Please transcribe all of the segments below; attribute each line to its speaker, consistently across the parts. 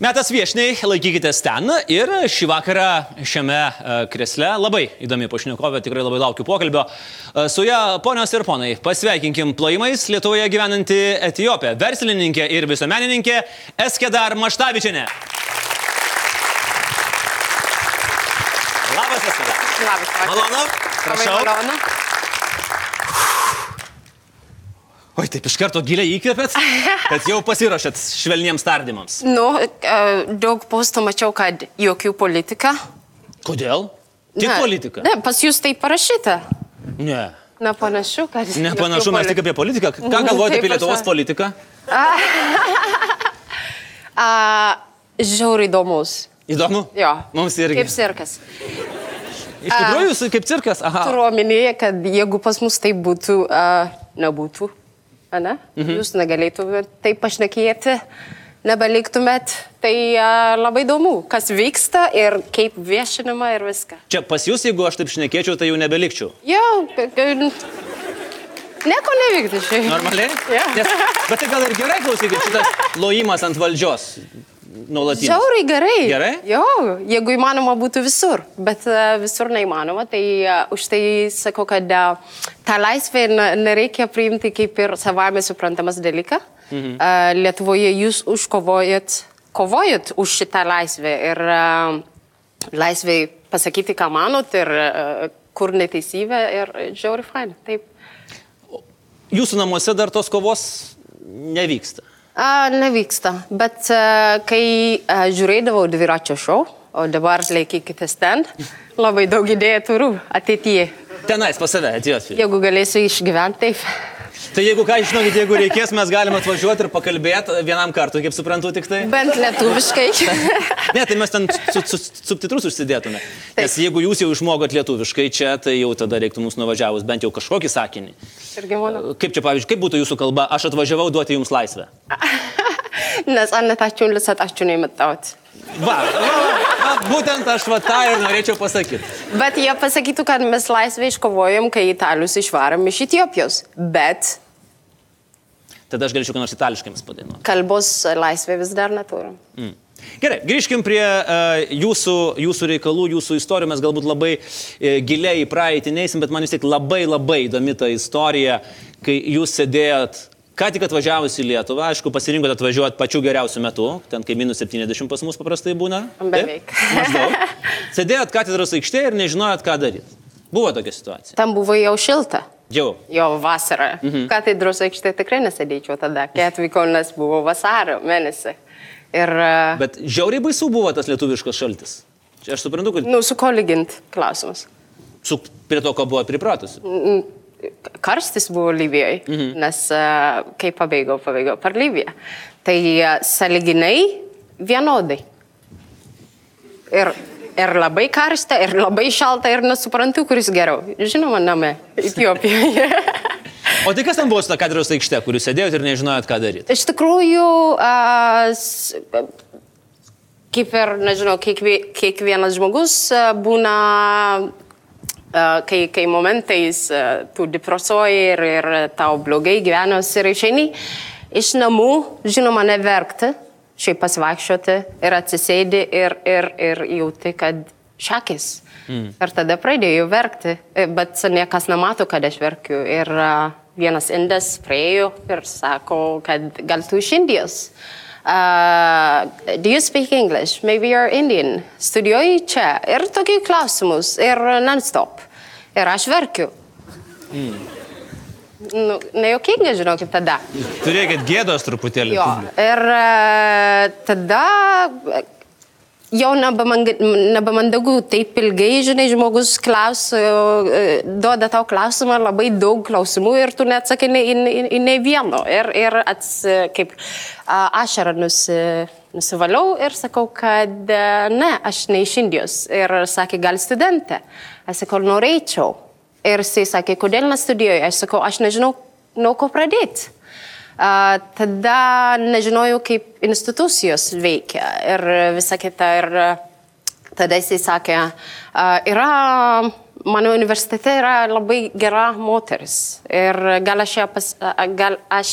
Speaker 1: Metas viešniai, laikykitės ten ir šį vakarą šiame e, kresle labai įdomi pašnekovė, tikrai labai laukiu pokalbio. E, Su ja, ponios ir ponai, pasveikinkim plojimais Lietuvoje gyvenanti Etijopė, verslininkė ir visuomenininkė Eskedar Maštavičiane. Labas, Eskedar.
Speaker 2: Labas vakaras.
Speaker 1: Malonu.
Speaker 2: Labai
Speaker 1: Prašau.
Speaker 2: malonu.
Speaker 1: Oi, taip iš karto giliai įkvėpėt, kad jau pasiruošėt švelniems tardymams.
Speaker 2: Nu, e, daug postų mačiau, kad jokių politika.
Speaker 1: Kodėl? Tik
Speaker 2: Ne.
Speaker 1: politika.
Speaker 2: Ne, pas jūs tai parašyta.
Speaker 1: Ne.
Speaker 2: Na, panašu, kad.
Speaker 1: Nepanašu,
Speaker 2: jokių
Speaker 1: mes tik
Speaker 2: poli-
Speaker 1: apie politiką. Ką
Speaker 2: Nu,
Speaker 1: galvojate
Speaker 2: taip
Speaker 1: apie
Speaker 2: aš
Speaker 1: Lietuvos
Speaker 2: va-
Speaker 1: politiką?
Speaker 2: A, Žiauriai įdomus.
Speaker 1: Įdomu.
Speaker 2: Jo.
Speaker 1: Mums irgi.
Speaker 2: Kaip sirkas.
Speaker 1: Iš tikrųjų, jūs kaip cirkas. Aha.
Speaker 2: Turiu omenyje, kad jeigu pas mus tai būtų, a, nebūtų. Ane? Mhm. Jūs negalėtumėt taip pašnekėti, nebeliktumėt. Tai a, labai įdomu, kas vyksta ir kaip viešinama ir viską.
Speaker 1: Čia pas jūs, jeigu aš taip šnekėčiau, tai jau nebelikčiau.
Speaker 2: Jo, k- k- nieko nevykti šiaip.
Speaker 1: Normaliai?
Speaker 2: Jo.
Speaker 1: Nes, bet tai gal ir gerai klausykit, šitas lojimas ant valdžios. Nuolatinis.
Speaker 2: Žiauriai gerai.
Speaker 1: Gerai?
Speaker 2: Jo, jeigu įmanoma būtų visur, bet e, visur neįmanoma, tai e, už tai sakau, kad e, tą laisvę ne- nereikia priimti kaip ir savame suprantamas dalykas. Mhm. Lietuvoje jūs užkovojat, kovojat už šitą laisvę ir e, laisvę pasakyti, ką manot ir e, kur neteisybė ir e, žiauriai fain. Taip.
Speaker 1: Jūsų namuose dar tos kovos nevyksta.
Speaker 2: A, nevyksta, bet a, kai a, žiūrėdavau dviračio šou, o dabar laikykite stand, labai daug idėjų turiu ateityje.
Speaker 1: Tenais pas save atėjot.
Speaker 2: Jeigu galėsiu išgyventi taip.
Speaker 1: Tai jeigu ką, žinokit, jeigu reikės, mes galime atvažiuoti ir pakalbėti vienam kartui, kaip suprantu, tik tai.
Speaker 2: Bent lietuviškai.
Speaker 1: Ne, tai mes ten su- su- subtitrus užsidėtume. Nes jeigu jūs jau išmokot lietuviškai čia, tai jau tada reiktų mūsų nuvažiavus bent jau kažkokį sakinį.
Speaker 2: Irgi mano.
Speaker 1: Kaip čia, pavyzdžiui, kaip būtų jūsų kalba, aš atvažiavau duoti jums laisvę.
Speaker 2: ነፃነታችሁን ልሰጣችሁን የመጣሁት
Speaker 1: Va, va, va būtent aš va tą ir norėčiau pasakyti.
Speaker 2: በት የፈሰኪቱ kad mes laisvę iškovojom, kai italus išvarėm iš Etiopijos, bet
Speaker 1: Tada aš galėčiau ką nors itališkai jums padainuoti.
Speaker 2: kalbos laisvę vis dar neturim.
Speaker 1: Mm. Gerai, grįžkim prie uh, jūsų, jūsų reikalų, jūsų istorijų. Mes galbūt labai uh, giliai į praeitį neįsim, bet man vis tiek labai labai įdomi ta istorija, kai jūs sėdėjot, ką tik atvažiavus į Lietuvą, aišku, pasirinkot atvažiuoti pačiu geriausiu metu, ten kai minus 70 pas mus paprastai būna. Taip?
Speaker 2: Beveik.
Speaker 1: Maždaug. Sėdėjot katedros aikštėje ir nežinojot, ką daryti. Buvo tokia situacija.
Speaker 2: Tam buvo jau šilta.
Speaker 1: Jau.
Speaker 2: Jo vasarą. Mhm. Katedros aikštė tikrai nesėdėčiau tada, kai atvykau, nes buvo vasario mėnesį. Ir, e, Bet...
Speaker 1: Bet žiauriai baisu buvo tas lietuviškas šaltis. Čia aš suprantu, kad
Speaker 2: nu, su ko lygint klausimas.
Speaker 1: su, prie to, ko buvo pripratusi.
Speaker 2: Karstis buvo Libijoje, mhm. nes a, kai pabėgau, pabėgau per Libiją. Tai a, saliginai vienodai. Ir, ir labai karšta, ir labai šalta, ir nesuprantu, kuris geriau. Žinoma, name, Etiopijoje.
Speaker 1: O tai kas ten buvo su ta katedros aikšte, kur jūs sėdėjote ir nežinojot, ką daryti?
Speaker 2: Iš tikrųjų, a, s- kaip ir, nežinau, kiekvie- kiekvienas žmogus a, būna, a, Uh, kai, kai momentais a, tu depresuoji ir, ir tau blogai gyvenos ir išeini iš namų, žinoma, neverkti, šiaip pasivaikščioti ir atsisėdi ir, ir, ir jauti, kad šakis. Mm. Ir tada pradėjau verkti, E, bet niekas nemato, kad aš verkiu. Ir a, vienas indas priejo ir sako, kad gal tu iš Indijos. Uh, do you speak English? Maybe you're Indian. Studijuoji čia. Ir tokių klausimus. Ir Er non-stop. Ir aš verkiu. Mm. Nu, Nejuokinga, žinokit, tada.
Speaker 1: Turėkit gėdos truputėlį.
Speaker 2: Jo. Ir e, tada e, jau nebemang- nebemandagu taip ilgai, žinai, žmogus klaus, e, duoda tau klausimą, labai daug klausimų ir tu neatsakai nei- į į- į nei vieno. Ir, ir ats, e, kaip a, ašarą nusi, nusivaliau ir sakau, kad e, ne, aš ne iš Indijos. Ir sakė, gal studentė. Aš sakau, norėčiau. Ir jisai sakė, kodėl nestudijuoji? Aš sakau, aš nežinau, nuo ko pradėti. A, tada nežinojau, kaip institucijos veikia ir visa kita. Ir a, tada jisai sakė, a, yra, mano universitete yra labai gera moteris ir gal aš ją, pas, a, a, gal aš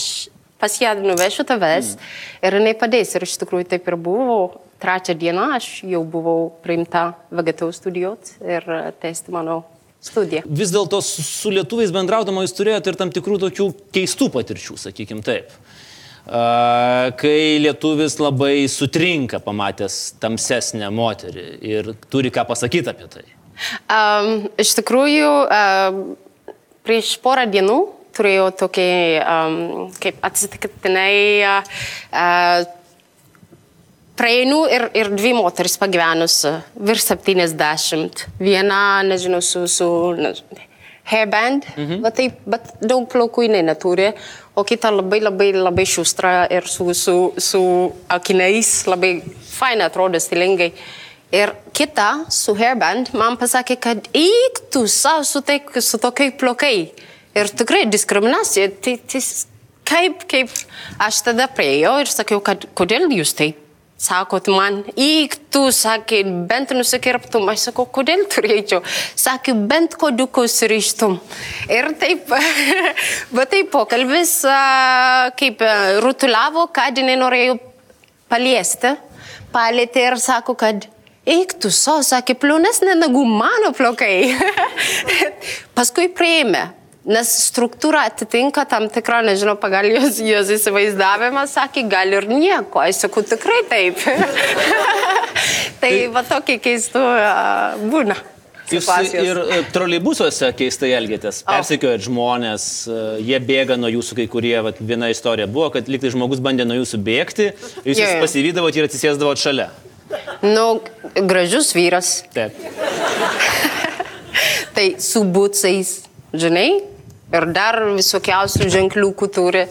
Speaker 2: pas ją nuvešiu tavęs. Mm. Ir jinai padės. Ir iš tikrųjų taip ir buvo. Trečią dieną aš jau buvau priimta VGTU studijuoti ir e, tęsti mano studiją.
Speaker 1: Vis dėlto su su lietuviais bendraudama jūs turėjote ir tam tikrų tokių keistų patirčių, sakykim taip. A, Kai lietuvis labai sutrinka pamatęs tamsesnę moterį ir turi ką pasakyti apie tai.
Speaker 2: Um, iš tikrųjų, um, prieš porą dienų turėjau tokį, um, kaip atsitiktinai, uh, prieinu ir, ir dvi moteris pagyvenus, virš 70. Viena, nežinau, su, su nežinau, hairband, mhm. bet, taip, bet daug plaukų jinai neturi, o kita labai labai labai šustra ir su, su, su akiniais, labai fainai atrodo stilingai. Ir kita su hairband man pasakė, kad eik tu savo su, tai, su tokiai plokai. Ir tikrai diskriminacija. Tai, tai, s- kaip, kaip aš tada prieėjau ir sakiau, kad kodėl jūs taip sakot man, eik tu, sakė, bent nu nusikirptum. Aš sakau, kodėl turėčiau? Sakė, bent kodukus ryštum. Ir taip, bet taip pokalbis a, kaip a, rutuliavo, kad jinai norėjo paliesti, palėtė ir sako, kad eik tu, so, sakė, plonesnė negu mano plokai. Paskui priėmė, nes struktūra atitinka tam tikrą, nežinau, pagal jos, jos įsivaizdavimą, sakė, gal ir nieko, aš sakau, tikrai taip. tai va tokie keistų uh, būna.
Speaker 1: Jūs
Speaker 2: situacijos.
Speaker 1: ir e, troleibusuose keistai elgėtės, persekiojat žmonės, e, jie bėga nuo jūsų, kai kurie, vat, viena istorija buvo, kad liktai žmogus bandė nuo jūsų bėgti, jūs
Speaker 2: Jo,
Speaker 1: jis
Speaker 2: jo.
Speaker 1: pasivydavot ir atsisėsdavot šalia.
Speaker 2: Nu, gražus vyras,
Speaker 1: Taip.
Speaker 2: tai su būcais, žinai, ir dar visokiausių ženkliukų turi.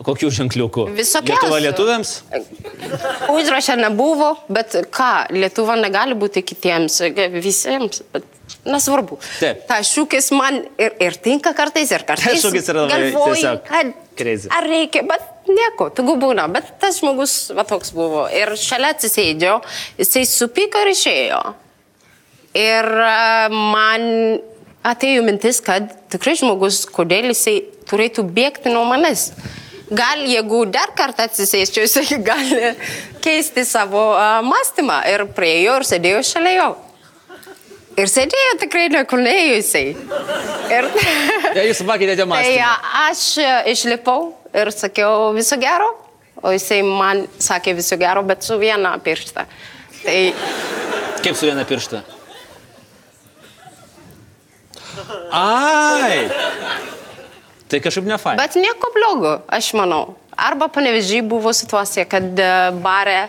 Speaker 1: Kokių ženkliukų?
Speaker 2: Visokiausių.
Speaker 1: Lietuva lietuviams?
Speaker 2: Užrašė nebuvo, bet ką, Lietuva negali būti kitiems, visiems, bet nesvarbu.
Speaker 1: Taip.
Speaker 2: Ta šūkis man ir, ir tinka kartais, ir kartais.
Speaker 1: Šūkis yra labai
Speaker 2: galvoju,
Speaker 1: tiesiog
Speaker 2: kad
Speaker 1: crazy.
Speaker 2: Ar reikia, bet nieko, tegu būna, bet tas žmogus va toks buvo. Ir šalia atsisėdėjo, jisai supyko ir išėjo. Ir a, man atėjo mintis, kad tikrai žmogus, kodėl jisai turėtų bėgti nuo manęs. Gal jeigu dar kartą atsisėsčiau, jisai gali keisti savo a, mąstymą. Ir priejo ir sėdėjo šalia jo. Ir sėdėjo tikrai niekur neėjo jisai. Ir...
Speaker 1: Ja, jūs pakeitėte
Speaker 2: Tai
Speaker 1: mąstymą.
Speaker 2: a, aš e, išlipau ir sakiau viso gero, o jisai man sakė viso gero, bet su viena piršta. Tai
Speaker 1: Kaip su viena piršta? Ai! Tai kažkaip ne fai.
Speaker 2: Bet nieko blogo, aš manau. Arba panevežiai buvo situacija, kad e, bare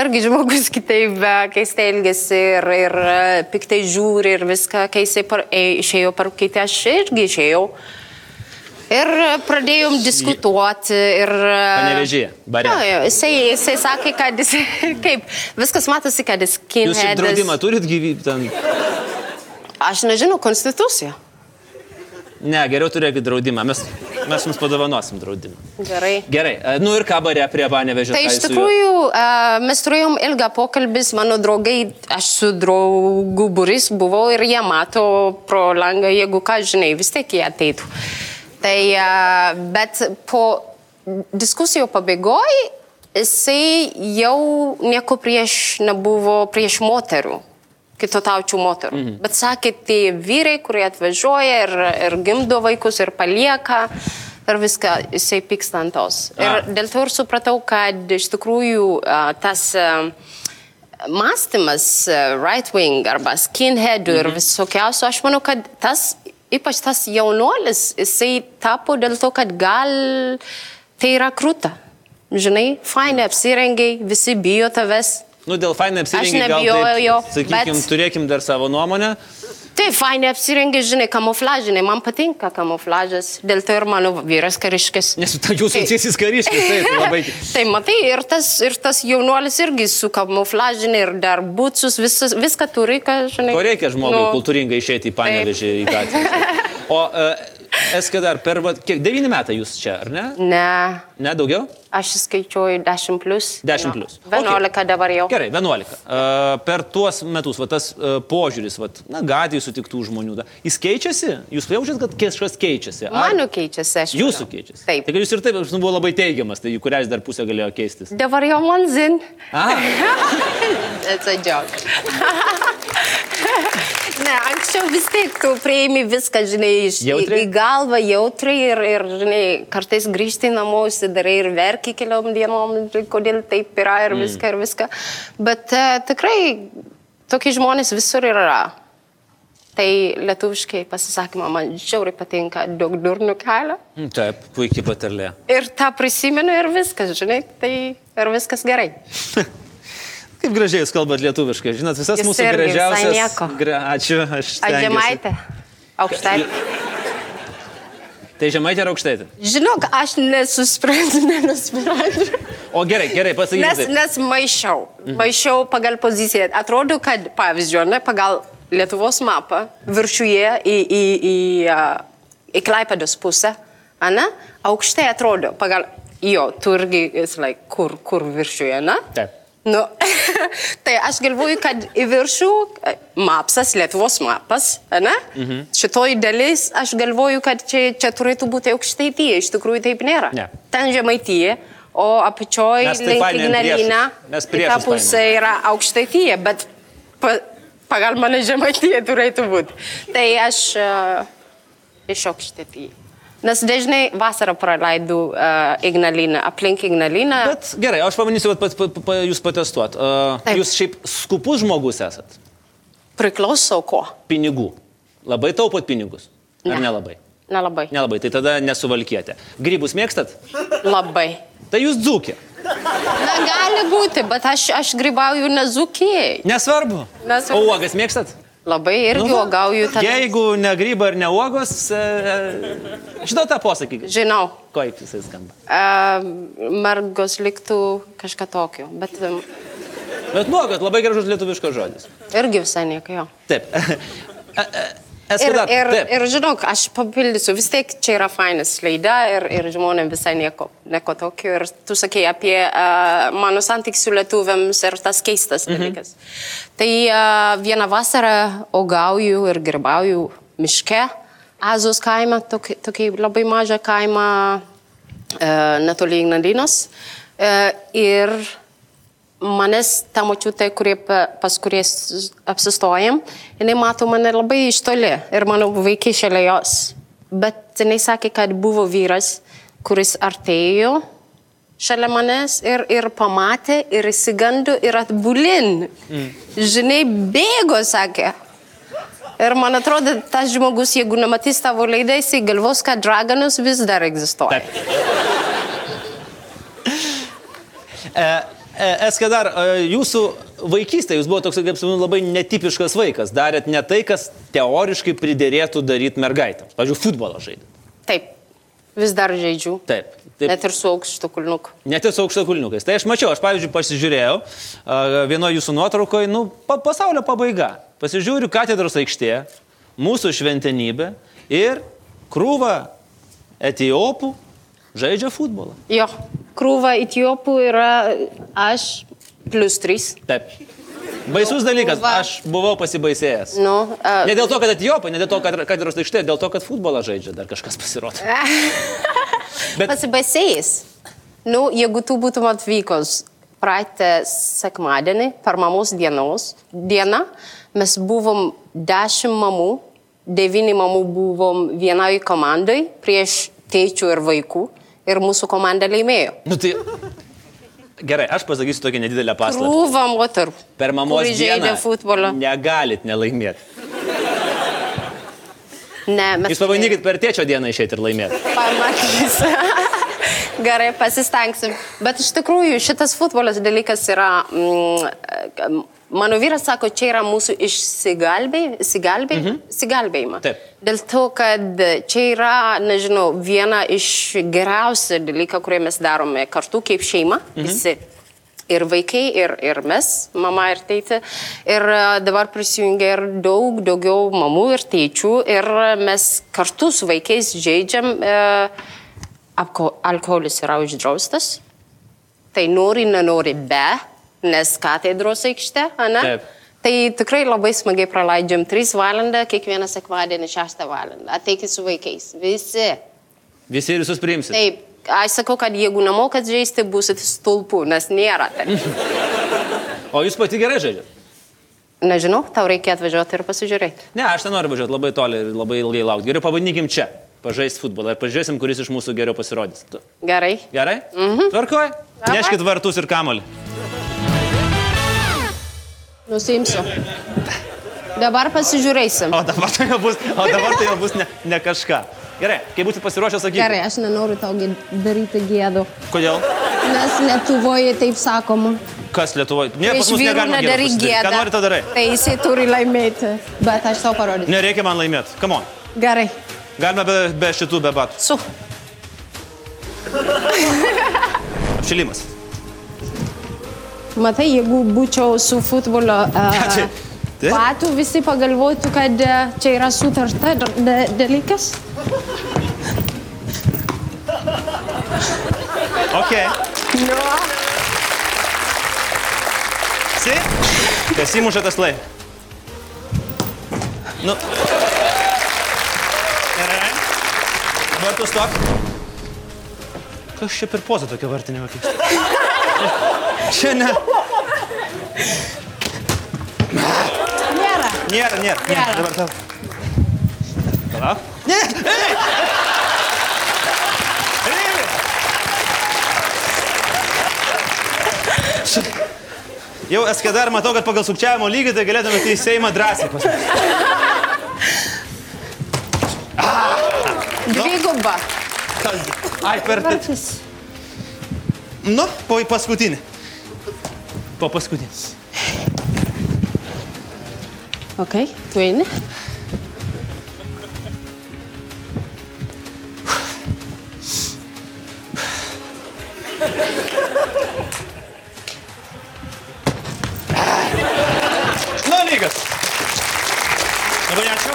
Speaker 2: irgi žmogus kitaip e, keistai elgesi ir, ir e, piktai žiūri ir viską, kai jisai par, e, išėjo parūkyti, aš irgi išėjau. Ir e, pradėjom diskutuoti ir... e,
Speaker 1: Panevėžyje, bare.
Speaker 2: Jo, jo, jisai, jisai sakė, kad jis... Kaip, viskas matosi, kad jis
Speaker 1: Jūs šiaip
Speaker 2: kinhedas.
Speaker 1: draudimą turit gyvybę ten?
Speaker 2: Aš nežinau, konstituciją.
Speaker 1: Ne, geriau turėkit draudimą. Mes, mes jums padovanosim draudimą.
Speaker 2: Gerai.
Speaker 1: Gerai, e, nu ir ką bare prie panevežio.
Speaker 2: Tai
Speaker 1: ką
Speaker 2: iš
Speaker 1: jūs su juo-
Speaker 2: tikrųjų a, mes turėjom ilgą pokalbį, mano draugai, aš su draugu buris buvau ir jie mato pro langą, jeigu ką žinai, vis tiek jie ateitų. Tai, a, bet po diskusijų pabaigoje jisai jau nieko prieš nebuvo prieš moterų. Kitotaučių moterų. Mm -hmm.
Speaker 1: Mhm.
Speaker 2: Bet sakė, tai vyrai, kurie atvažiuoja ir, ir gimdo vaikus ir palieka ir viską, jisai pyksta ant tos. Ir
Speaker 1: A.
Speaker 2: Dėl to ir supratau, kad iš tikrųjų a, tas a, mąstymas a, right wing arba skinheadų ir visokiausių, aš manau, kad tas, ypač tas jaunuolis, jisai tapo dėl to, kad gal tai yra krūta. Žinai, fainai apsirengiai, visi bijo tavęs.
Speaker 1: Nu, dėl fainai apsirengti.
Speaker 2: nebijojau jo,
Speaker 1: Sakykim,
Speaker 2: bet-
Speaker 1: turėkim dar savo nuomonę.
Speaker 2: Tai fainai apsirengiai, žinai, kamuflažinai, man patinka kamuflažas, dėl to ir mano vyras kariškis.
Speaker 1: Nes ta jūsų
Speaker 2: Tai-
Speaker 1: tiesis kariškis, tai labai...
Speaker 2: Tai matai, ir tas, ir tas jaunuolis irgi su kamuflažinė ir dar būtus, visas, viską turi, ką žinai.
Speaker 1: Ko reikia žmogui
Speaker 2: Nu,
Speaker 1: kultūringai išėti į panevežį į gatvę? O e, SKDR per, va, kiek, devyni metai jūs čia, ar ne?
Speaker 2: Ne,
Speaker 1: Ne daugiau?
Speaker 2: aš skaičiuoju 10 plus.
Speaker 1: 10
Speaker 2: Nu,
Speaker 1: plius. Okei.
Speaker 2: 11 dabar jau.
Speaker 1: Gerai, 11. Uh, per tuos metus, va, tas uh, požiūris, va, na, gatvėje sutiktų žmonių, da, jis keičiasi? Jūs jaučiat, kad kažkas keičiasi? Ar
Speaker 2: Mano keičiasi, aš.
Speaker 1: jūsų
Speaker 2: manau.
Speaker 1: keičiasi?
Speaker 2: Taip.
Speaker 1: Tai kad jūs ir taip, aš žinau, buvo labai teigiamas, tai į kurią jis dar pusę galėjo keistis.
Speaker 2: Dabar jau man zin.
Speaker 1: Ah,
Speaker 2: It's a joke. ne, anksčiau vis tiek tu prieimi viską, žinai, iš į,
Speaker 1: Jautriai?
Speaker 2: į galvą jautriai ir, ir, žinai, kartais grįžti namo, užsidarai ir verki keliom dienom, tai kodėl taip yra ir
Speaker 1: Mm.
Speaker 2: viską, ir viską. Bet uh, tikrai tokie žmonės visur ir yra. Tai lietuviškai pasisakymą man žiauriai patinka, daug durnų kelia.
Speaker 1: mm, taip, puikiai patarlė.
Speaker 2: Ir tą prisimenu ir viskas, žinai, tai ir viskas gerai.
Speaker 1: Kaip gražiai jūs kalbate lietuviškai, žinot, visas
Speaker 2: Jūs
Speaker 1: mūsų
Speaker 2: irgi visai
Speaker 1: gražiausias.
Speaker 2: nieko.
Speaker 1: Gra, ačiū, aš.
Speaker 2: Ar
Speaker 1: stengiuosi.
Speaker 2: žemaitė? Aukštaitė?
Speaker 1: Tai žemaitė ar aukštaitė?
Speaker 2: Žinok, aš nesusprendžiu, nenusprendžiu.
Speaker 1: O gerai, gerai,
Speaker 2: Nes,
Speaker 1: pasakykite.
Speaker 2: nes maišiau.
Speaker 1: Mm-hmm.
Speaker 2: Maišiau pagal poziciją. Atrodo, kad, pavyzdžiui, ne, pagal Lietuvos mapą viršuje į, į, į, uh, į, į Klaipados pusę, ne, aukštai atrodo pagal jo turgi, jis laik, kur, kur viršuje, ne?
Speaker 1: Taip.
Speaker 2: Nu, tai aš galvoju, kad į viršų e, mapsas, Lietuvos mapas, ne? Mhm. Šitoj dalis, aš galvoju, kad čia, čia turėtų būti aukštaityje, iš tikrųjų taip nėra.
Speaker 1: Ne.
Speaker 2: Ten žemaityje, o apačioj
Speaker 1: Mes tai
Speaker 2: link
Speaker 1: painiojam
Speaker 2: Ignalina,
Speaker 1: priešus. Mes
Speaker 2: kita
Speaker 1: priešus
Speaker 2: pusė yra aukštaityje, bet pa, pagal mane žemaityje turėtų būti. Tai aš uh, iš aukštaityje. Nes dažnai vasarą praleidau uh, Ignaliną, aplink Ignaliną.
Speaker 1: Bet gerai, aš pamanysiu, kad pat, pat, pat, jūs patestuot. Uh,
Speaker 2: Taip.
Speaker 1: jūs šiaip skupus žmogus esat.
Speaker 2: Priklauso ko?
Speaker 1: Pinigų. Labai taupot pinigus. Ar
Speaker 2: Ne.
Speaker 1: nelabai?
Speaker 2: Nelabai.
Speaker 1: Nelabai, tai tada nesuvalkėte. Grybus mėgstat?
Speaker 2: Labai.
Speaker 1: Tai jūs dzūkė.
Speaker 2: Na, gali būti, bet aš, aš grybauju nezukėjai.
Speaker 1: Nesvarbu.
Speaker 2: Nesvarbu.
Speaker 1: O uogas mėgstat?
Speaker 2: Labai irgi
Speaker 1: va.
Speaker 2: nu, uogauju ten.
Speaker 1: Jeigu ne gryba ir ne uogos, e, e, žinau tą posakį.
Speaker 2: Žinau,
Speaker 1: Kaip jisai skamba.
Speaker 2: uh, mergos liktų kažką tokio, bet um,
Speaker 1: Bet nuogas labai gražus lietuviškas žodis.
Speaker 2: irgi visai nieko jo.
Speaker 1: Taip. Esu
Speaker 2: Ir,
Speaker 1: dar.
Speaker 2: ir,
Speaker 1: Taip.
Speaker 2: ir žinok, aš papildysiu, vis tiek čia yra fainas laida ir, ir žmonėm visai nieko, nieko tokio. Ir tu sakei apie uh, mano santykius su lietuviams ir tas keistas dalykas. Tai uh, vieną vasarą augauju ir gerbauju miške, Azos kaimą, tokį tokį labai mažą kaimą uh, netoli Ignalinos. Uh, ir manęs ta močiutė, kurie pa- pas kurie s- apsistojam, jinai mato mane labai iš toli ir mano vaikai šalia jos. Bet jinai sakė, kad buvo vyras, kuris artėjo šalia manęs ir, ir pamatė ir įsigando ir atbulin. Mm. Žinai, bėgo, sakė. Ir man atrodo, tas žmogus, jeigu nematys tavo laidą, jisai galvos, kad draganus vis dar egzistuoja.
Speaker 1: Taip. Eske dar, e, jūsų vaikystė, jūs buvote toks, kaip suprantu, labai netipiškas vaikas. Darėt ne tai, kas teoriškai pridėrėtų daryti mergaitėms. Pavyzdžiui, futbolą žaidėt.
Speaker 2: Taip, vis dar žaidžiu.
Speaker 1: Taip.
Speaker 2: Taip.
Speaker 1: taip.
Speaker 2: Net ir su aukštu kulnuku.
Speaker 1: Net ir su aukšta kulniukais. Tai aš mačiau, aš pavyzdžiui pasižiūrėjau a, vienoje jūsų nuotraukoje, nu, pa, pasaulio pabaiga. Pasižiūriu katedros aikštėje, mūsų šventenybė ir krūva etiopų žaidžia futbolą.
Speaker 2: Jo, krūva etiopų yra aš plus 3.
Speaker 1: Taip. Baisus dalykas,
Speaker 2: Krūva.
Speaker 1: aš buvau pasibaisėjęs.
Speaker 2: Nu,
Speaker 1: Ne
Speaker 2: uh,
Speaker 1: dėl to, kad atjopai, ne dėl to, kad katedros aikštė, dėl to, kad futbolą žaidžia dar kažkas pasirodė. bet-
Speaker 2: pasibaisėjęs. Nu, jeigu tu būtum atvykus praeitą sekmadienį, per mamos dienos, dieną, mes buvom 10 mamų, 9 mamų buvom vienai komandai prieš tėčių ir vaikų ir mūsų komanda laimėjo.
Speaker 1: Nu tai. Gerai, aš pasakysiu tokią nedidelę paslaptį.
Speaker 2: Krūva moterų.
Speaker 1: Per mamos
Speaker 2: kuri
Speaker 1: dieną
Speaker 2: žaidė futbolą.
Speaker 1: Negalit nelaimėti.
Speaker 2: Ne, mes.
Speaker 1: Jūs pabandykit per tėčio dieną išėti ir laimėti.
Speaker 2: Pamatys. Gerai, pasistengsim. Bet iš tikrųjų šitas futbolas dalykas yra, mm, mano vyras sako, čia yra mūsų išsigalbėjimas.
Speaker 1: Taip.
Speaker 2: Dėl to, kad čia yra, nežinau, viena iš geriausių dalykų, kurį mes darome kartu kaip šeima. Mhm. Visi. ir vaikai, ir, ir mes, mama ir teitė. Ir a, dabar prisijungia ir daug daugiau mamų ir teičių. Ir a, mes kartu su vaikais žaidžiam. E, apko- Alkoholis yra uždraustas. Tai nori, nenori be, nes katedros aikšte, ne?
Speaker 1: Taip.
Speaker 2: Tai tikrai labai smagiai praleidžiam 3 valandą, kiekvieną sekmadienį 6 valandą. Ateikit su vaikais. Visi.
Speaker 1: Visi ir visus priimsit.
Speaker 2: Taip, aš sakau, kad jeigu nemokat žaisti, būsit stulpų, nes nėra. ten.
Speaker 1: O jūs pati gerai žaidžiate?
Speaker 2: Nežinau, tau reikia atvažiuoti ir pasižiūrėti.
Speaker 1: Ne, aš ten noriu važiuoti labai toli ir labai ilgai laukti. Geriau pabandykim čia. Pažais futbolą ir pažiūrėsim, kuris iš mūsų geriau pasirodys. Tu.
Speaker 2: Gerai.
Speaker 1: Gerai? Mhm. Tvarkoj?
Speaker 2: Labai.
Speaker 1: Neškit vartus ir kamolį.
Speaker 2: Nusimsiu. Dabar pasižiūrėsim.
Speaker 1: O dabar tai jau bus, o dabar tai jau bus ne, ne kažką. Gerai, kai būsit pasiruošęs, sakykit.
Speaker 3: Gerai, aš nenoriu tau gė- daryti gėdų,
Speaker 1: Kodėl?
Speaker 3: nes Lietuvoje taip sakoma,
Speaker 1: Kas Lietuvoje? Ne, pas
Speaker 2: Iš
Speaker 1: mus
Speaker 2: vyrų
Speaker 1: negalima
Speaker 2: nedaryk
Speaker 1: gėdos pasidaryt.
Speaker 2: gėdą.
Speaker 1: Ką nori, tą darai.
Speaker 3: tai jisai turi laimėti, bet aš tau parodysiu.
Speaker 1: Nereikia man laimėti. Come on.
Speaker 3: Gerai,
Speaker 1: Galima be, be šitų, be batų.
Speaker 2: Su.
Speaker 1: Apšilimas.
Speaker 3: matai, jeigu būčiau e su futbolo
Speaker 1: Čia-
Speaker 3: uh,
Speaker 1: tai-
Speaker 3: patu, visi pagalvotų, kad a, čia yra sutarta d- d- dalykas.
Speaker 1: Ok.
Speaker 3: No.
Speaker 1: Si? Kas įmuša tas laimė? Nu. Gerai. Dabar tu stok. Kas čia per pozą tokia vartinė kokia? Čia ne.
Speaker 3: Nėra.
Speaker 1: Nėra, nėra. nėra.
Speaker 3: Nėra.
Speaker 1: Dabar tau. Palauk. Ne! ei! Ei! Š- Jau SKD ir matau, kad pagal sukčiavimo lygį tai galėtume į Seimą drąsiai pasakyti.
Speaker 2: Dviguba.
Speaker 1: Ai, per...
Speaker 3: Vartis.
Speaker 1: Nu, po paskutinį. Po paskutinį.
Speaker 3: Ok, tu eini.
Speaker 1: Nu, lygas. Labai ačiū.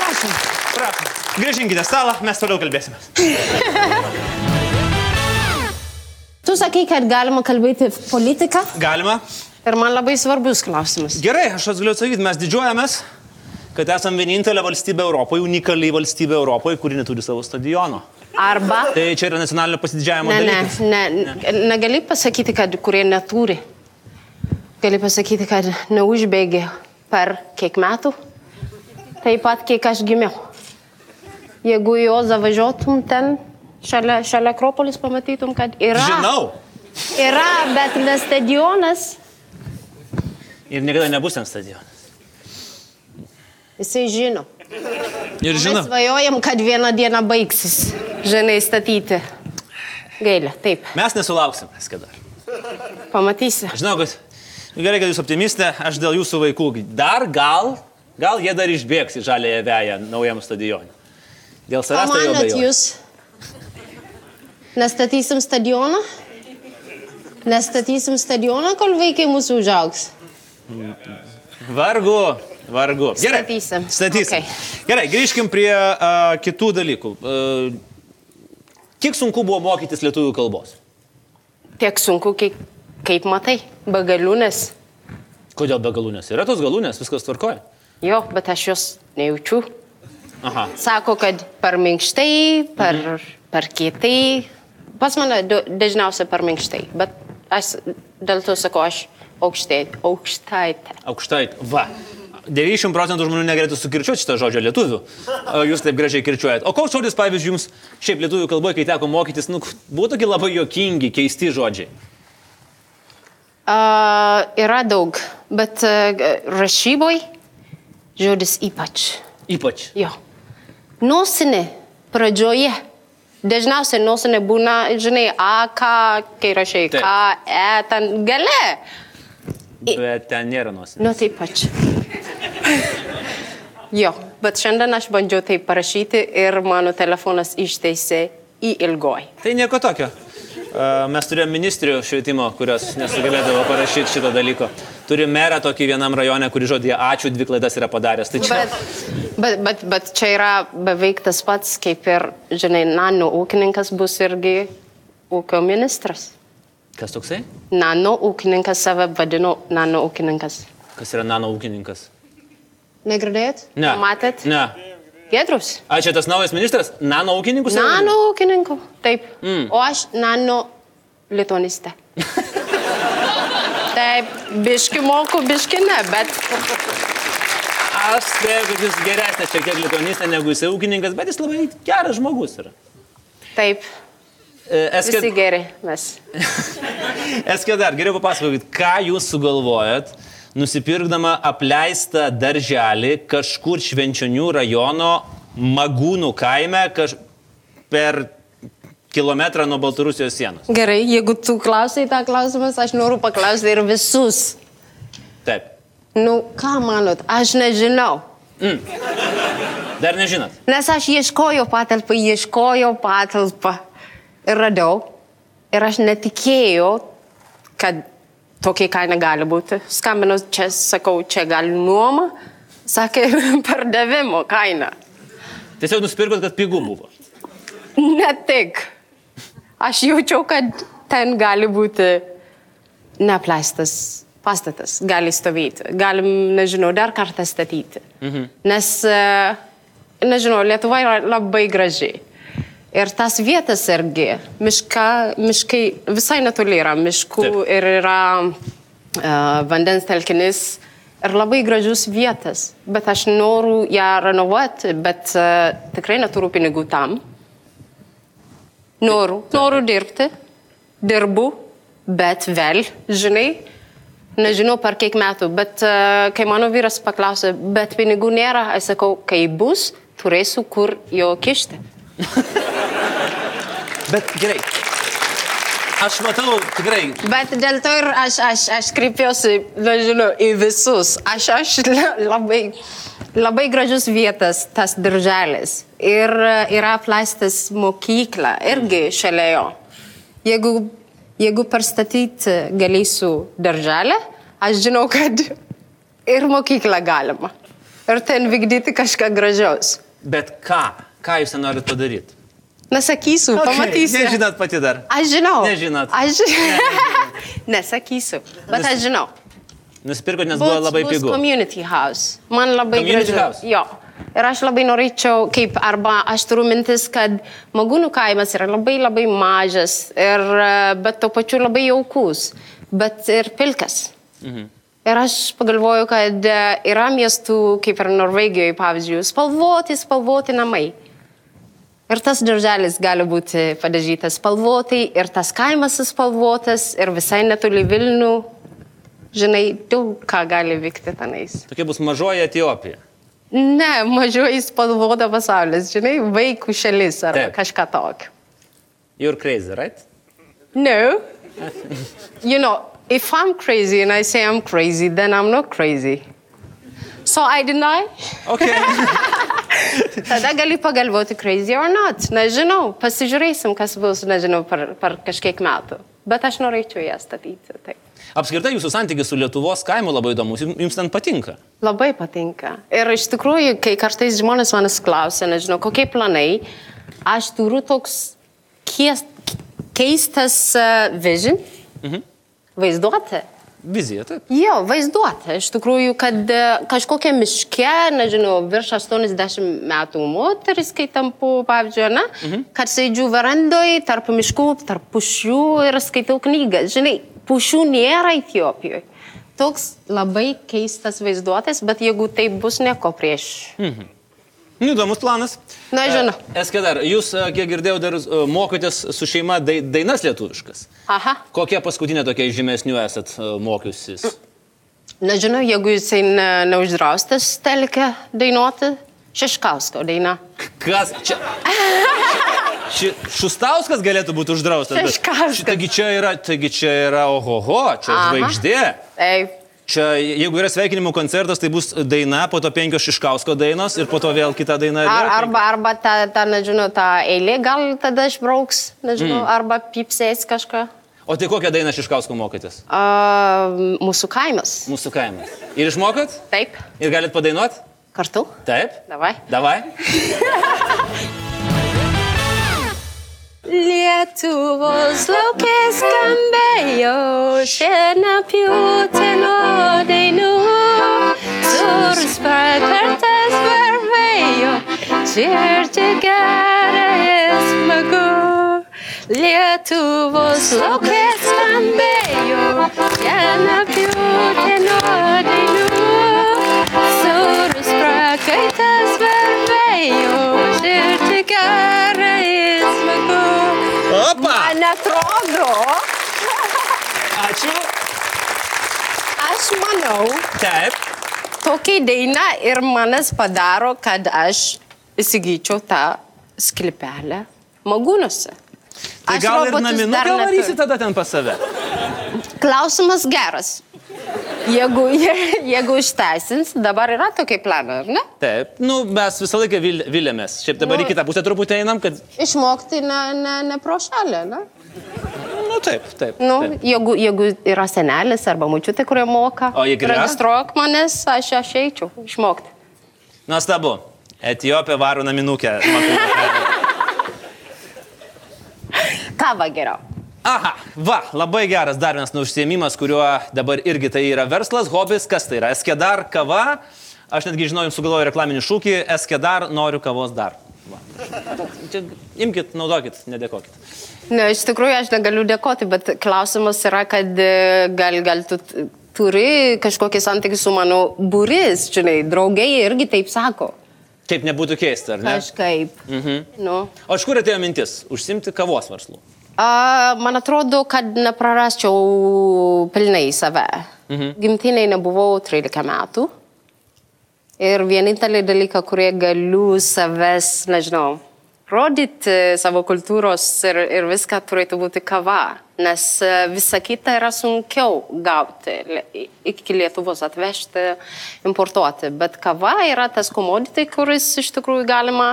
Speaker 3: Prašom.
Speaker 1: Prašom. Grįžinkite stalą, mes toliau kalbėsime.
Speaker 3: Tu sakai, kad galima kalbėti politiką.
Speaker 1: Galima?
Speaker 2: Ir man labai svarbus klausimas.
Speaker 1: Gerai, aš jums galiu atsakyti, mes didžiuojamės, kad esame vienintelė valstybė Europoje, unikali valstybė Europoje, kuri neturi savo stadiono.
Speaker 2: Arba.
Speaker 1: Tai čia yra nacionalinio pasididžiavimo
Speaker 2: Ne, ne,
Speaker 1: dalykas.
Speaker 2: ne, ne. Negali pasakyti, kad kurie neturi. Gali pasakyti, kad neužbėgė per kiek metų. Taip pat, kiek aš gimiau. Jeigu jo zavažiuotum ten, šalia, šalia Akropolis, pamatytum, kad yra.
Speaker 1: Žinau.
Speaker 2: Yra, bet ne stadionas.
Speaker 1: Ir niekada nebus ten stadionas.
Speaker 2: Jisai žino.
Speaker 1: Ir
Speaker 2: Mes svajojam, kad vieną dieną baigsis. Žinai, statyti. Gailė, taip.
Speaker 1: Mes nesulauksim, mes kada.
Speaker 2: Pamatysi.
Speaker 1: Žinau, kad nu gerai, kad jūs optimistė, aš dėl jūsų vaikų dar gal, gal jie dar išbėgs į žalėje veją naujam stadionui. Dėl savęs tai jau
Speaker 3: Pamanot
Speaker 1: abejoju.
Speaker 3: jūs? Nestatysim stadioną? Nestatysim stadioną, kol vaikai mūsų užaugs.
Speaker 1: Vargu, vargu. Gerai.
Speaker 2: Statysim.
Speaker 1: Statysim.
Speaker 2: Okay.
Speaker 1: Okay. Gerai, grįžkim prie uh, kitų dalykų. Uh, kiek sunku buvo mokytis lietuvių kalbos?
Speaker 2: Tiek sunku, kaip, kaip matai. Bagaliūnės.
Speaker 1: Kodėl be galūnės? Yra tos galūnės, viskas tvarkoja.
Speaker 2: Jo, bet aš jos nejaučiu.
Speaker 1: Aha.
Speaker 2: Sako, kad per minkštai, per, per kietai. Pas mane du- dažniausiai per minkštai, bet aš dėl to sakau, aš aukštai, aukštaitė.
Speaker 1: Aukštai. Va. 90 procentų žmonių negalėtų sukirčiuoti šitą žodžią lietuvių. O jūs taip gražiai kirčiuojat. O koks žodis, pavyzdžiui, jums šiaip lietuvių kalboje, kai teko mokytis, nu, buvo tokie labai jokingi, keisti žodžiai.
Speaker 2: Uh, yra daug, bet uh, rašyboj žodis ypač.
Speaker 1: Ypač.
Speaker 2: Jo. Nosinė pradžioje. Dažniausiai nosinė būna, žinai, A, K, kai rašai
Speaker 1: Taip.
Speaker 2: K, E, ten gale. I-
Speaker 1: Bet ten nėra nosinės.
Speaker 2: Nu taip pat. jo, bet šiandien aš bandžiau tai parašyti ir mano telefonas išteisė į ilgoj.
Speaker 1: Tai nieko tokio. E, Mes turėjom ministrių švietimo, kurios nesugebėdavo parašyti šito dalyko. Turim merą tokį vienam rajone, kuri žodėje ačiū dvi klaidas yra padaręs. Tai čia...
Speaker 2: Bet, bet, bet, bet čia yra beveik tas pats, kaip ir, žinai, nano ūkininkas bus irgi ūkio ministras.
Speaker 1: Kas toksai?
Speaker 2: Nano ūkininkas save vadino nano ūkininkas.
Speaker 1: Kas yra nano ūkininkas?
Speaker 2: Negirdėjot?
Speaker 1: Ne.
Speaker 2: Matėt?
Speaker 1: Ne.
Speaker 2: Giedrus.
Speaker 1: A čia tas naujas ministras? Nano ūkininkus? yra
Speaker 2: Nano ūkininku. Taip. Mm. O aš nano litonistė. Taip, biški moku, biški ne, bet
Speaker 1: Aš spėjau, kad jis geresnis šiek tiek likonistė negu jisai ūkininkas, bet jis labai geras žmogus yra.
Speaker 2: taip,
Speaker 1: E, Eske,
Speaker 2: visi geri mes.
Speaker 1: eske dar geriau papasakokit, ką jūs sugalvojat, nusipirkdama apleistą darželį kažkur švenčionių rajono magūnų kaime kaž... per kilometrą nuo Baltarusijos sienos.
Speaker 2: Gerai, jeigu tu klausai tą klausimą, aš noriu paklausti ir visus.
Speaker 1: Taip.
Speaker 2: Nu, ką manot, aš nežinau.
Speaker 1: Dar nežinot.
Speaker 2: Nes aš ieškojau patalpą, ieškojau patalpą ir radau. Ir aš netikėjau, kad tokia kaina gali būti. Skambinau čia, sakau, čia gali nuoma, sakė pardavimo kaina.
Speaker 1: Tiesiog nusipirkot, kad pigų buvo.
Speaker 2: Ne tik. Aš jaučiau, kad ten gali būti neapleistas pastatas, gali stovėti, galim, nežinau, dar kartą statyti. Mhm. Nes, e, nežinau, Lietuva yra labai gražiai. Ir tas vietas irgi, miška, miškai visai netoli yra miškų
Speaker 1: Taip.
Speaker 2: Taip. ir yra uh, vandens telkinis ir labai gražus vietas. Bet aš noriu ją renovuoti, bet uh, tikrai neturiu pinigų tam. Noriu, noriu dirbti, dirbu, bet vėl, žinai, nežinau per kiek metų, bet uh, kai mano vyras paklausė, bet pinigų nėra, aš sakau, kai bus, turėsiu kur jo kišti.
Speaker 1: Bet gerai. Aš matau tikrai
Speaker 2: Bet dėl to ir aš, aš, aš kreipiuosi, nežinau, į visus. Aš, aš la- labai, labai gražus vietas, tas dirželis. Ir e, yra apleistas mokykla, irgi šalia jo. Jeigu, jeigu perstatyti galėsiu dirželį, aš žinau, kad ir mokyklą galima. Ir ten vykdyti kažką gražaus.
Speaker 1: Bet ką? Ką jūs ten norit padaryti?
Speaker 2: Nesakysiu, okay, pamatysiu.
Speaker 1: Nežinot pati dar.
Speaker 2: Aš žinau.
Speaker 1: Nežinot.
Speaker 2: Aš žinau. Nesakysiu, bet aš žinau.
Speaker 1: Nusipirkot, nes buvo labai
Speaker 2: bus
Speaker 1: pigu.
Speaker 2: Community house. Man labai
Speaker 1: Community
Speaker 2: gražu.
Speaker 1: house.
Speaker 2: Jo. Ir aš labai norėčiau, kaip, arba aš turiu mintis, kad Magūnų kaimas yra labai labai mažas, ir, e, bet tuo pačiu labai jaukus, bet ir pilkas. Mhm. Ir aš pagalvoju, kad e, yra miestų, kaip ir Norvegijoje, pavyzdžiui, spalvoti, spalvoti namai. Ir Er tas darželis gali būti padažytas spalvotai, ir er tas kaimas spalvotas, ir visai netoli Vilnių. Žinai, daug ką gali vykti tenais.
Speaker 1: Tokia bus mažoji Etijopija.
Speaker 2: Ne, mažiau spalvota pasaulis, žinai, vaikų šalis ar
Speaker 1: Taip.
Speaker 2: kažką tokio.
Speaker 1: You're crazy, right?
Speaker 2: No. you know, if I'm crazy and I say I'm crazy, then I'm not crazy. So I deny.
Speaker 1: Okay.
Speaker 2: Tada gali pagalvoti crazy or not. Nežinau, pasižiūrėsim, kas bus, nežinau, per, per kažkiek metų. Bet aš norėčiau ją statyti. Taip.
Speaker 1: Apskritai jūsų santykis su Lietuvos kaimu labai įdomus. Jum- Jums ten patinka.
Speaker 2: Labai patinka. Ir iš tikrųjų, kai kartais žmonės manęs klausia, nežinau, kokie planai, aš turiu toks kies, keistas uh, vision, mhm. vaizduotė.
Speaker 1: Vizija, taip.
Speaker 2: Jo, vaizduotė. Iš tikrųjų, kad e, kažkokia miške, nežinau, virš 80 metų moteris, kai tampu, pavyzdžiui, na, mhm. kad sėdžiu verandoje tarp miškų, tarp pušių ir skaitau knygą. Žinai, pušių nėra Etiopijoje. Toks labai keistas vaizduotės, bet jeigu tai bus nieko prieš.
Speaker 1: Nu, Įdomus planas.
Speaker 2: Na, žinau.
Speaker 1: Eske dar, jūs, e, kiek girdėjau, dar e, mokotės su šeima dai, dainas lietuviškas.
Speaker 2: Aha.
Speaker 1: Kokia paskutinė tokia iš žymesnių esat e, mokiusis?
Speaker 2: Nežinau, jeigu jisai ne, neuždraustas telkia dainuoti, Šeškausko daina.
Speaker 1: K- Kas čia? Ši, šustauskas galėtų būti uždraustas. bet
Speaker 2: Šeškauskas.
Speaker 1: ši- Taigi čia yra, taigi čia yra, ohoho, čia
Speaker 2: Aha.
Speaker 1: žvaigždė.
Speaker 2: Ei,
Speaker 1: Čia, jeigu yra sveikinimų koncertas, tai bus daina, po to penkios Šiškausko dainos ir po to vėl kita daina. ir
Speaker 2: Ar,
Speaker 1: vėl
Speaker 2: arba, arba ta, ta, nežinau, ta eilė gal tada išbrauks, nežinau, mm. arba pipsės kažką.
Speaker 1: penkios. O tai kokią dainą Šiškausko mokėtės?
Speaker 2: Uh, mūsų kaimas.
Speaker 1: Mūsų kaime. Ir išmokot?
Speaker 2: Taip,
Speaker 1: Ir galit padainuot?
Speaker 2: kartu.
Speaker 1: Taip.
Speaker 2: Davai.
Speaker 1: Davai.
Speaker 2: Lietuvos laukė skambėjo šienapjūteno dainų. Sūrus pakartas varvėjo, širdį gerai smagu. Lietuvos laukė skambėjo šienapjūteno dainų. Sūrus prakaitas varvėjo, širdį gerai smagu.
Speaker 1: Opa!
Speaker 2: Man atrodo,
Speaker 1: Ačiū.
Speaker 2: aš manau,
Speaker 1: Taip.
Speaker 2: tokia daina ir manas padaro, kad aš įsigyčiau tą skilpelę magūnuose.
Speaker 1: Tai gal
Speaker 2: Aš
Speaker 1: ir
Speaker 2: robotus dar
Speaker 1: naminuką
Speaker 2: neturiu.
Speaker 1: varysi tada ten pas save.
Speaker 2: Klausimas geras. Jeigu, je- jeigu išteisins, dabar yra tokie planai, ar ne?
Speaker 1: Taip. Nu, mes visą laiką vil, vilėmės. Šiaip dabar
Speaker 2: Nu.
Speaker 1: į kitą pusę truputį einam, kad...
Speaker 2: Išmokti ne, ne, ne pro šalį, ne?
Speaker 1: Nu, taip, taip.
Speaker 2: Nu,
Speaker 1: taip.
Speaker 2: jeigu, jeigu yra senelis arba mučiutė, kurie moka,
Speaker 1: O jeigu yra?
Speaker 2: registruok manęs, aš aš eičiau išmokti.
Speaker 1: Nuostabu. Etijopė varo naminukę.
Speaker 2: Kava geriau.
Speaker 1: Aha, va, labai geras dar vienas užsiemimas, kuriuo dabar irgi tai yra verslas, hobis, kas tai yra? Eskedar kava. Aš netgi žinau, jums sugalvoju reklaminį šūkį, Eskedar noriu kavos dar. Va. Čia imkit, naudokit, nedėkokit.
Speaker 2: Ne, iš tikrųjų aš negaliu dėkoti, bet klausimas yra, kad e, gal, gal tu t- turi kažkokį santykį su mano būris, žinai, draugai irgi taip sako.
Speaker 1: Kaip nebūtų keista, ar ne?
Speaker 2: Kažkaip. Mhm. Nu.
Speaker 1: O iš kur atėjo mintis užsimti kavos verslu?
Speaker 2: A, man atrodo, kad neprarasčiau pilnai save. Mhm. Gimtiniai nebuvau 13 metų. Ir vienintelį dalyką, kurie galiu savęs, nežinau, rodyti e, savo kultūros ir, ir viską turėtų būti kava. Nes e, visa kita yra sunkiau gauti, le- i- iki Lietuvos atvežti, importuoti. Bet kava yra tas komoditė, kuris iš tikrųjų galima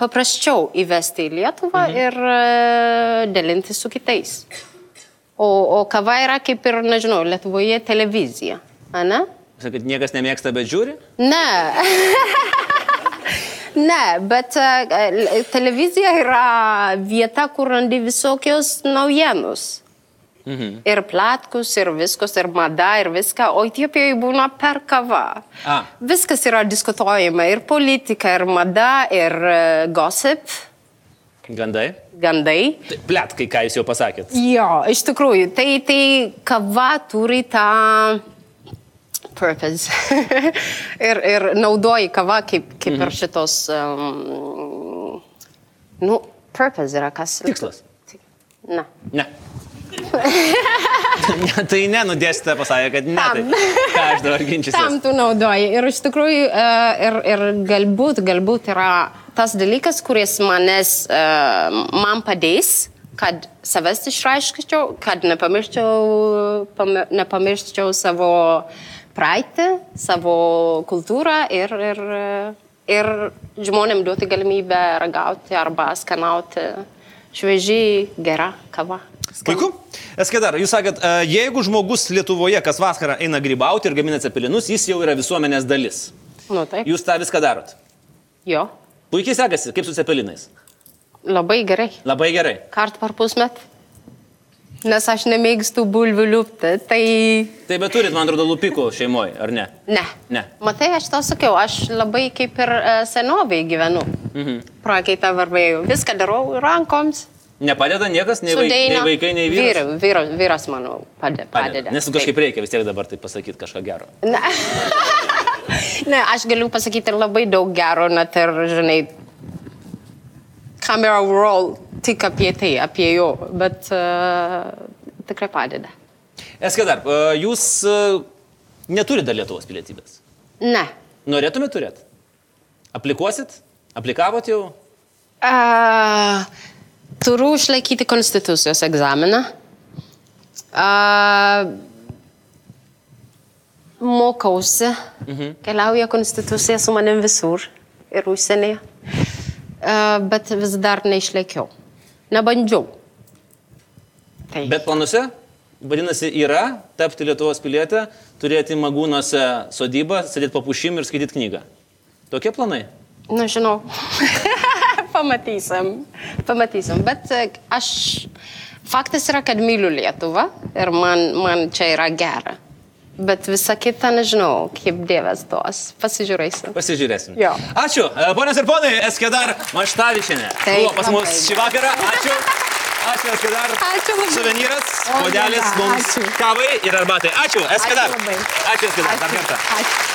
Speaker 2: paprasčiau įvesti į Lietuvą mhm. ir e, dalinti su kitais. O, o kava yra kaip ir, nežinau, Lietuvoje televizija. Ane?
Speaker 1: Sakai, niekas nemėgsta, bet žiūri?
Speaker 2: Ne. ne, bet e, l- televizija yra vieta, kur randi visokios naujienos. Mhm. Ir platkus, ir viskas, ir mada, ir viską. O Etiopijoje būna per kavą.
Speaker 1: A.
Speaker 2: Viskas yra diskutuojama. Ir politika, ir mada, ir e, gossip,
Speaker 1: Gandai.
Speaker 2: gandai.
Speaker 1: Tai Plet, kai ką jūs jau pasakėt.
Speaker 2: Jo, iš tikrųjų, tai, tai kava turi tą purpose. ir, ir naudoji kava kaip, kaip mm. ir šitos. Um, nu, purpose yra kas.
Speaker 1: Tikslas.
Speaker 2: Na.
Speaker 1: Ne. ne tai ne, nudėsite pasakė, kad ne. Tai. Ką aš dabar
Speaker 2: Tam
Speaker 1: ginčysiu?
Speaker 2: tu naudoji. Ir iš tikrųjų, e, ir, ir galbūt, galbūt yra tas dalykas, kuris manęs, e, man padės, kad savęs išraiškičiau, kad nepamirščiau, pami- nepamirščiau savo praeitį, savo kultūrą ir, ir, e, ir žmonėm duoti galimybę ragauti arba skanauti šviežiai gerą kavą.
Speaker 1: Puiku. Eskedar, jūs sakėt, e, jeigu žmogus Lietuvoje kas vasarą eina grybauti ir gamina cepelinus, jis jau yra visuomenės dalis.
Speaker 2: Nu, taip.
Speaker 1: Jūs tą viską darot.
Speaker 2: Jo,
Speaker 1: Puikiai sekasi, kaip su cepelinais.
Speaker 2: labai gerai.
Speaker 1: Labai gerai.
Speaker 2: kart per pusmetį. Nes aš nemėgstu bulvių liūpti, tai
Speaker 1: Tai bet turit, man atrodo, lupikų šeimoje, ar ne?
Speaker 2: ne.
Speaker 1: Ne.
Speaker 2: Matai, aš tau sakiau, aš labai kaip ir e, senoviai gyvenu. Mhm. Prakaitą varvėjau. Viską darau rankoms.
Speaker 1: Nepadeda niekas, nei, vaik, nei
Speaker 2: Sudeina.
Speaker 1: vaikai, nei vyras.
Speaker 2: Vyra- Vyras, vyras mano, padė, padeda.
Speaker 1: Nes
Speaker 2: Taip.
Speaker 1: kažkaip reikia vis tiek dabar tai pasakyti kažką gero.
Speaker 2: Ne. ne, aš galiu pasakyti labai daug gero, net ir, žinai, kamera roll tik apie tai, apie jo, bet uh, tikrai padeda.
Speaker 1: Eskedar, e, jūs e, neturite dar Lietuvos pilietybės.
Speaker 2: Ne.
Speaker 1: Norėtumėt turėti? Aplikuosit? Aplikavot jau?
Speaker 2: A, turiu išlaikyti konstitucijos egzaminą. A, mokausi, keliauja konstitucija su manim visur ir užsienyje, E, bet vis dar neišlaikiau. Nebandžiau. Tai.
Speaker 1: Bet planuose, vadinasi, yra tapti Lietuvos pilietę, turėti magūnose sodybą, sėdėti papušim ir skaityti knygą. Tokie planai.
Speaker 2: Na, žinau. pamatysim. Pamatysim. Bet e, aš. Faktas yra, kad myliu Lietuvą ir man, man čia yra gera. Bet visa kita nežinau, kaip Dievas duos. Pasižiūrėsim.
Speaker 1: Pasižiūrėsim.
Speaker 2: Jo.
Speaker 1: Ačiū. E, Ponios ir ponai, Eskedar Maštavičianė.
Speaker 2: Taip,
Speaker 1: Buvo pas mus
Speaker 2: labai.
Speaker 1: šį vakarą. Ačiū. Ačiū, Eskedar.
Speaker 3: Ačiū labai.
Speaker 1: Suvenyras,
Speaker 3: O,
Speaker 1: kodelis
Speaker 3: jėga,
Speaker 1: mums
Speaker 3: ačiū.
Speaker 1: kavai ir arbatai. Ačiū, Eskedar.
Speaker 3: labai.
Speaker 1: Ačiū, Eskedar. Dar
Speaker 3: Ačiū.
Speaker 1: kartą.
Speaker 3: Ačiū.